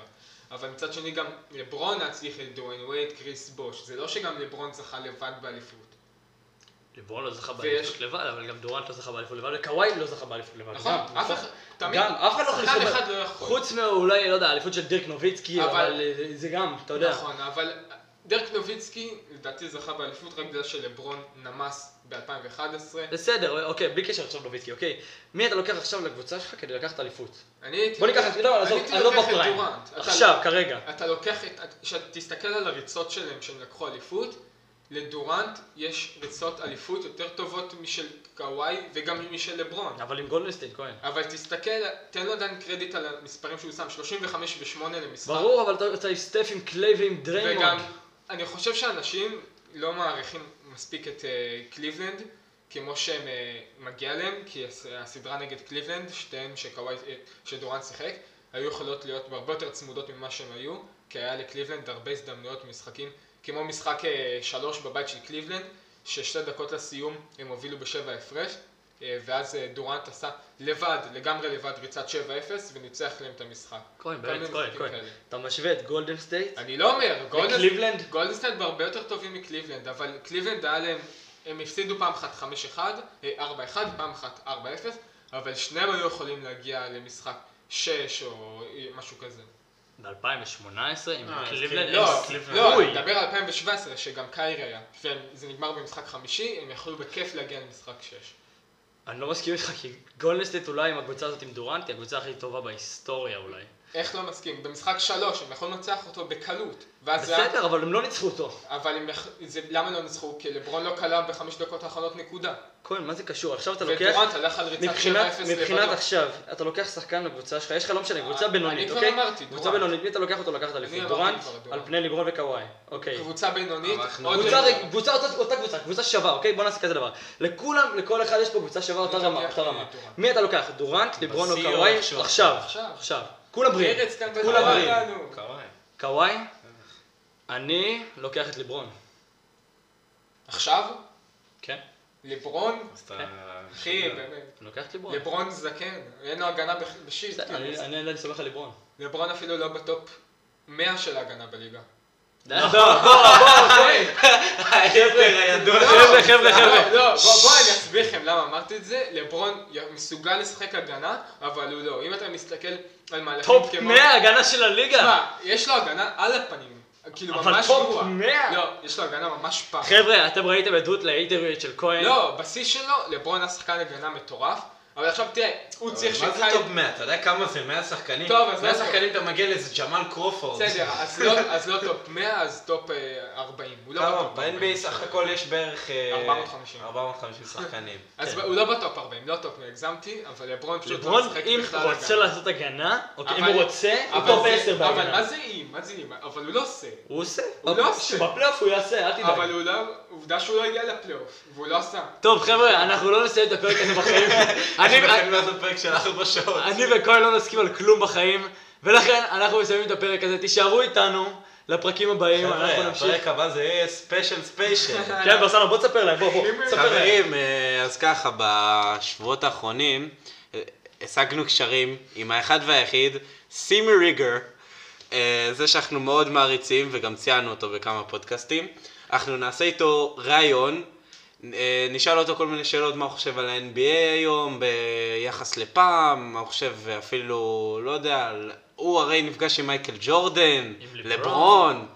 S3: אבל מצד שני גם לברון הצליח את דוויין וייד, קריס בוש, זה לא שגם לברון זכה לבד באליפות.
S1: לברון לא זכה
S3: ויש-
S1: באליפות לבד, אבל גם דורנט לא זכה באליפות לבד, וקוואי לא זכה באליפות לבד.
S3: נכון,
S1: גם,
S3: אף אחד, תמיד,
S1: גם, אף אחד לא יכול
S3: שחקן
S1: לזכות
S3: אחד לא יכול.
S1: חוץ מאולי, לא יודע, האליפות של דירק נוביצקי,
S3: אבל-
S1: אבל אה, זה- זה גם, אתה יודע.
S3: נכון, אבל דרק נוביצקי, לדעתי זכה באליפות רק בגלל שלברון נמס ב-2011.
S1: בסדר, אוקיי, בלי קשר עכשיו לוביצקי, אוקיי? מי אתה לוקח עכשיו לקבוצה שלך כדי לקחת אליפות?
S3: אני הייתי...
S1: בוא ניקח את... לא, עזוב,
S3: הייתי
S1: אני לא
S3: לוקח את
S1: בפריים.
S3: דורנט. אתה-
S1: עכשיו, כרגע.
S3: אתה לוקח את... כשאתה תסתכל על הריצות שלהם שהם לקחו אליפות, לדורנט יש ריצות אליפות יותר טובות משל קוואי וגם משל לברון.
S1: אבל עם גולדנסטיין, כהן.
S3: אבל תסתכל, תן לו עדיין קרדיט על המספרים שהוא שם, 35 ו-8 למשחק.
S1: ברור, אבל אתה- אתה עם סטף עם קליי ועם
S3: וגם,
S1: דריימונד.
S3: אני חושב שאנשים לא מעריכים מספיק את אה, קליבלנד כמו שהם אה, מגיע להם, כי הס- הסדרה נגד קליבלנד, שתיהן שקוואי, אה, שדורן שיחק, היו יכולות להיות הרבה יותר צמודות ממה שהם היו, כי היה לקליבלנד הרבה הזדמנויות במשחקים, כמו משחק אה, שלוש בבית של קליבלנד, ששתי דקות לסיום הם הובילו בשבע הפרש. אה, ואז אה, דורנט עשה לבד, לגמרי לבד, ריצת 7-0 וניצח להם את המשחק.
S1: כהן,
S3: כל מיני
S1: באמת, כהן,
S3: משחקים
S1: כהן.
S3: כאלה.
S1: אתה משווה את גולדנסטייט
S3: אני לא אומר, גולדנס-
S1: כן. לקליבלנד?
S3: גולדנסטיין הרבה יותר טובים מקליבלנד, אבל קליבלנד היה להם, הם הפסידו פעם אחת 5-1, אה, 4-1, פעם אחת 4-0, אבל שניהם היו יכולים להגיע למשחק 6 או אה, משהו כזה.
S1: ב-2018 עם
S2: אה, אז
S1: קליבלנד?
S2: כן.
S3: לא,
S2: אין קליבלנד.
S3: לא,
S1: אוי.
S3: אני מדבר על 2017, שגם קיירי היה, וזה נגמר במשחק חמישי, הם יכלו בכיף להגיע למשחק 6.
S1: אני לא מסכים איתך, כי גולדנסטייט אולי עם הקבוצה הזאת עם דורנט, היא הקבוצה הכי טובה בהיסטוריה אולי.
S3: איך לא מסכים? במשחק 3 הם יכולים לנצח אותו בקלות, ואז זה היה-
S1: בסדר, אבל הם לא ניצחו אותו.
S3: אבל הם יכ- זה- למה לא ניצחו? כי לברון לא כלה בחמש דקות האחרונות נקודה.
S1: כהן, מה זה קשור? עכשיו אתה לוקח...
S3: ודורנט הלך על ריצת 7-0
S1: מבחינת, מבחינת
S3: לבדו.
S1: עכשיו, אתה לוקח שחקן לקבוצה שלך, יש לך לא משנה, קבוצה
S3: אה, אני
S1: בינונית,
S3: כבר
S1: אוקיי?
S3: אמרתי,
S1: קבוצה
S3: דורנט.
S1: בינונית, מי אתה לוקח אותו לקחת אליפות?
S3: אמרתי
S1: דורנט
S3: כבר, דורנט.
S1: על פני ליברון וקוואי, אוקיי.
S3: קבוצה בינונית,
S2: אנחנו-
S3: עוד
S1: קבוצה,
S3: רגע.
S1: רג- קבוצה אותה, אותה קבוצה, קבוצה שווה, אוקיי? בוא נעשה כזה דבר. לכולם, לכל אחד יש פה קבוצה שווה, אותה
S3: אני
S1: רמה,
S3: לוקח
S1: אותה
S3: את
S1: רמה.
S3: דורנט.
S1: מי אתה לוקח? דורנט, ליברון או
S2: בשיא או
S1: קוואי?
S2: עכשיו?
S1: עכשיו,
S3: עכשיו.
S1: עכשיו. כולם בריאים.
S3: ארץ כאן
S1: כולם
S3: בזמן
S1: בריאים.
S3: לנו.
S2: קוואי.
S1: קוואי? אני לוקח את ליברון.
S3: עכשיו,
S1: כן?
S3: לברון,
S2: אז אתה...
S3: אחי, באמת.
S1: אני לוקח את ליברון.
S3: לברון זקן, אין לו הגנה בח- בשיט.
S1: בסדר,
S3: כאילו.
S1: אני- אני עדיין סומך על ליברון.
S3: לברון אפילו לא בטופ 100 של ההגנה בליגה.
S1: די,
S3: לא.
S1: בוא, בוא, בוא, אה, אוקיי.
S2: היתר הידוע.
S1: חבר'ה, חבר'ה,
S3: לא,
S1: חבר'ה.
S3: לא, בוא- בוא אני אסביר לכם למה אמרתי את זה. לברון י- מסוגל לשחק הגנה, אבל הוא לא. אם אתה מסתכל על מהלכים כמו...
S1: טופ 100 הגנה של הליגה.
S3: תשמע, יש לו הגנה על הפנים. כאילו
S1: אבל
S3: ממש
S1: טופ
S3: גרוע.
S1: 100.
S3: לא, יש לו הגנה ממש פח.
S1: חבר'ה, אתם ראיתם עדות לאינטרוויט של כהן?
S3: לא, בשיא שלו, לברון היה שחקן הגנה מטורף, אבל עכשיו תראה, הוא צריך
S2: מה זה
S3: שקיירי-
S2: טופ 100? אתה יודע כמה זה 100 שחקנים?
S3: טוב, אז
S2: 100
S3: לא טוב.
S2: שחקנים אתה מגיע לאיזה ג'מאל קרופורד.
S3: בסדר, אז לא- אז לא טופ 100, אז טופ אה, 40. הוא לא
S2: כמה?
S3: בטופ 40.
S2: ב-NBA סך הכל יש בערך... אה,
S3: 450.
S2: 450 שחקנים.
S3: אז
S1: כן.
S3: הוא לא בטופ 40, לא טופ 100, הגזמתי, אבל לברון פשוט לא
S1: לברון,
S3: משחק
S1: אם
S3: בכלל
S1: הוא רוצה
S3: הגנה.
S1: לעשות הגנה, אוקיי, אם
S3: אבל-
S1: הוא רוצה, הוא
S3: אבל
S1: טופ
S3: זה-
S1: 10
S3: אבל
S1: בהגנה.
S3: מה זה אם? מה זה אם? אבל הוא לא עושה.
S1: הוא עושה.
S3: הוא לא עושה.
S1: בפלייאוף הוא יעשה, אל
S3: אבל
S1: תדאג.
S3: הוא לא, עובדה שהוא לא הגיע לפלייאוף, והוא לא עשה.
S1: טוב, חבר'ה, אנחנו לא נסיים את הפרק הזה בחיים. אני-
S2: לכן מאז הפרק של 4 שעות.
S1: אני וכהן לא נסכים על כלום בחיים, ולכן אנחנו מסיימים את הפרק הזה. תישארו איתנו לפרקים הבאים, אנחנו
S2: חבר'ה,
S1: נמשיך.
S2: הפרק הבא זה יהיה ספיישל ספיישל.
S1: כן, ברסנו, בוא תספר להם, בוא, בוא,
S3: אם-
S1: תספר להם.
S2: חברים, אה, אז ככה, בשבועות האחרונים אה, השגנו קשרים עם האחד והיחיד, סימי ריגר, אה, זה שאנחנו מאוד מעריצים וגם ציינו אותו בכמה פודקאסטים. אנחנו נעשה איתו ראיון, אה, נשאל אותו כל מיני שאלות, מה הוא חושב על ה-NBA היום ביחס לפעם, מה הוא חושב אפילו, לא יודע, על- הוא הרי נפגש עם מייקל ג'ורדן,
S1: עם לברון.
S2: לברון.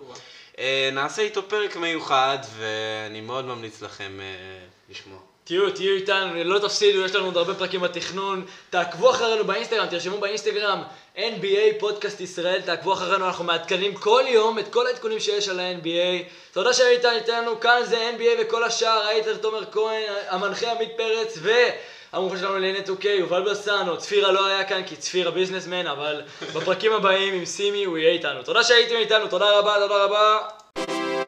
S2: אה, נעשה איתו פרק מיוחד, ואני מאוד ממליץ לכם אה, לשמוע.
S1: תהיו, תהיו איתנו, לא תפסידו, יש לנו עוד הרבה פרקים בתכנון. תעקבו אחרינו באינסטגרם, תרשמו באינסטגרם NBA פודקאסט ישראל, תעקבו אחרינו, אנחנו מעדכנים כל יום את כל העדכונים שיש על ה-NBA. תודה שהייתם איתנו, כאן זה NBA וכל השאר, הייתם תומר כהן, המנחה עמית פרץ, והמומחה שלנו לענייני 2K, יובל ברסנו, צפירה לא היה כאן כי צפירה ביזנסמן, אבל בפרקים הבאים עם סימי הוא יהיה איתנו. תודה שהייתם איתנו, תודה רבה, תודה רבה.